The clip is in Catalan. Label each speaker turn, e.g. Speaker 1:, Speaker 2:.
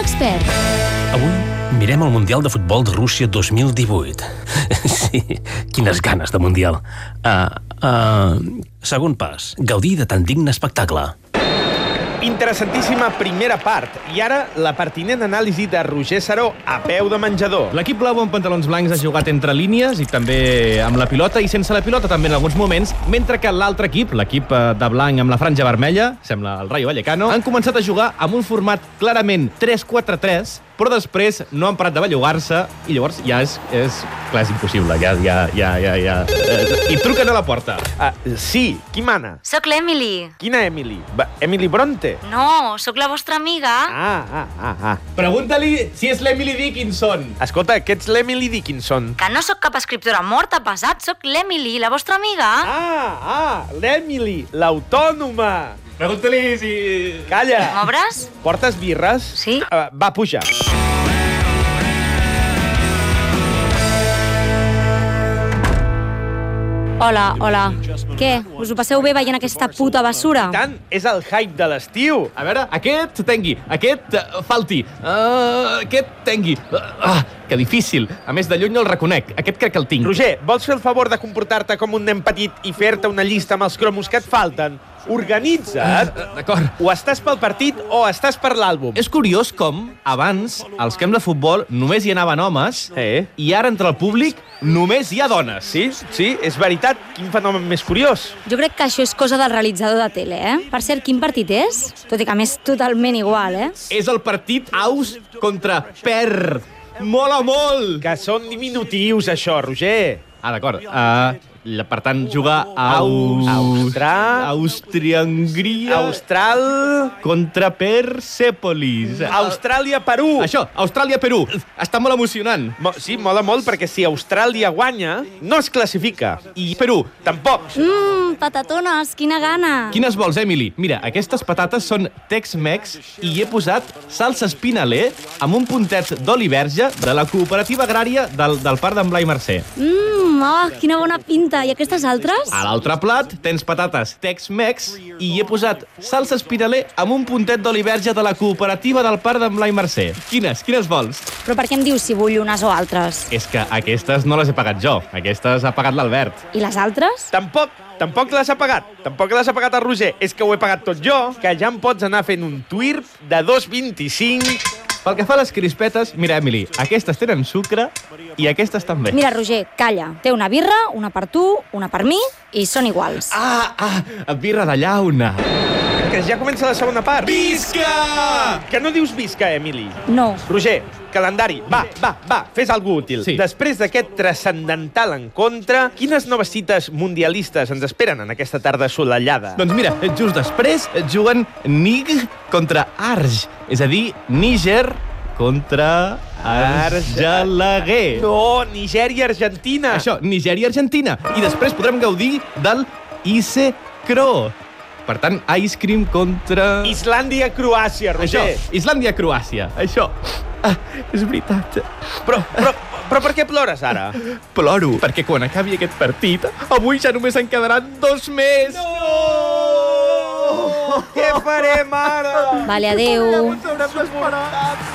Speaker 1: expert.
Speaker 2: Avui mirem el Mundial de Futbol de Rússia 2018. Sí, quines ganes de Mundial. Uh, uh, segon pas, gaudir de tan digne espectacle.
Speaker 3: Interessantíssima primera part. I ara, la pertinent anàlisi de Roger Saró a peu de menjador.
Speaker 4: L'equip blau amb pantalons blancs ha jugat entre línies i també amb la pilota i sense la pilota també en alguns moments, mentre que l'altre equip, l'equip eh, de blanc amb la franja vermella, sembla el Rayo Vallecano, han començat a jugar amb un format clarament 3-4-3, però després no han parat de bellugar-se i llavors ja és, és... Clar, és impossible, ja, ja, ja, ja, ja... Eh, I truquen a la porta.
Speaker 3: Ah, sí, qui mana?
Speaker 5: Soc l'Emily.
Speaker 3: Quina Emily? Ba- Emily Bronte?
Speaker 5: No, sóc la vostra amiga.
Speaker 3: Ah, ah, ah, ah.
Speaker 4: Pregunta-li si és l'Emily Dickinson.
Speaker 3: Escolta, que ets l'Emily Dickinson.
Speaker 5: Que no sóc cap escriptora morta, pesat, sóc l'Emily, la vostra amiga.
Speaker 3: Ah, ah, l'Emily, l'autònoma.
Speaker 4: Pregunta-li si...
Speaker 3: Calla.
Speaker 5: M'obres?
Speaker 3: Portes birres?
Speaker 5: Sí.
Speaker 3: Ah, va, puja.
Speaker 1: Hola, hola. Què? Us ho passeu bé veient aquesta puta bessura?
Speaker 3: Tant és el hype de l'estiu.
Speaker 4: A veure, aquest tengui, aquest eh, falti, uh, aquest tengui. Uh, ah, que difícil. A més, de lluny no el reconec. Aquest crec que el tinc.
Speaker 3: Roger, vols fer el favor de comportar-te com un nen petit i fer-te una llista amb els cromos que et falten? Organitza't.
Speaker 4: Eh, D'acord.
Speaker 3: O estàs pel partit o estàs per l'àlbum.
Speaker 4: És curiós com, abans, als camps de futbol només hi anaven homes
Speaker 3: Eh?
Speaker 4: i ara entre el públic només hi ha dones.
Speaker 3: Sí, sí, és veritat. Quin fenomen més curiós.
Speaker 1: Jo crec que això és cosa del realitzador de tele, eh? Per cert, quin partit és? Tot i que m'és totalment igual, eh?
Speaker 4: És el partit aus contra per. Mola molt!
Speaker 3: Que són diminutius, això, Roger.
Speaker 4: Ah, d'acord. Uh, la- per tant, jugar a Aus...
Speaker 3: Austra-
Speaker 4: Àustria-Hongria...
Speaker 3: Austral...
Speaker 4: Contra Persepolis.
Speaker 3: Austràlia-Perú.
Speaker 4: Això, Austràlia-Perú. Està molt emocionant.
Speaker 3: Mo sí, mola molt, perquè si Austràlia guanya, no es classifica.
Speaker 4: I Perú,
Speaker 3: Tampoc.
Speaker 4: Mm.
Speaker 1: Mmm, patatones, quina gana!
Speaker 4: quines vols, Emily? Mira, aquestes patates són Tex-Mex i hi he posat salsa espinaler amb un puntet d'oli verge de la cooperativa agrària del, del parc d'en Blai Mercè.
Speaker 1: Mmm, oh, quina bona pinta! I aquestes altres?
Speaker 4: A l'altre plat tens patates Tex-Mex i hi he posat salsa espinaler amb un puntet d'oli verge de la cooperativa del parc d'en Blai Mercè. Quines? Quines vols?
Speaker 1: Però per què em dius si vull unes o altres?
Speaker 4: És que aquestes no les he pagat jo. Aquestes ha pagat l'Albert.
Speaker 1: I les altres?
Speaker 3: Tampoc, tampoc l'has apagat. Tampoc l'has apagat el Roger. És que ho he pagat tot jo, que ja em pots anar fent un twirp de 2,25.
Speaker 4: Pel que fa a les crispetes, mira, Emily, aquestes tenen sucre i aquestes també.
Speaker 1: Mira, Roger, calla. Té una birra, una per tu, una per mi, i són iguals.
Speaker 4: Ah, ah, birra de llauna.
Speaker 3: Que ja comença la segona part.
Speaker 4: Visca!
Speaker 3: Que no dius visca, Emily.
Speaker 1: No.
Speaker 3: Roger, calendari, va, va, va, fes alguna útil.
Speaker 4: Sí.
Speaker 3: Després d'aquest transcendental encontre, quines noves cites mundialistes ens esperen en aquesta tarda assolellada?
Speaker 4: Doncs mira, just després juguen Nig contra Arj, és a dir, Níger contra Argelaguer.
Speaker 3: No, Nigèria, Argentina.
Speaker 4: Això, Nigèria i Argentina. I després podrem gaudir del Ice Cro. Per tant, ice cream contra...
Speaker 3: Islàndia, Croàcia,
Speaker 4: Això,
Speaker 3: Roger.
Speaker 4: Islàndia-Croàcia. Això. Ah, és veritat.
Speaker 3: Però, però, però per què plores ara?
Speaker 4: Ploro, perquè quan acabi aquest partit, avui ja només en quedaran dos més. No!
Speaker 3: Què farem ara?
Speaker 1: Vale, adeu.
Speaker 4: Haurem d'esperar.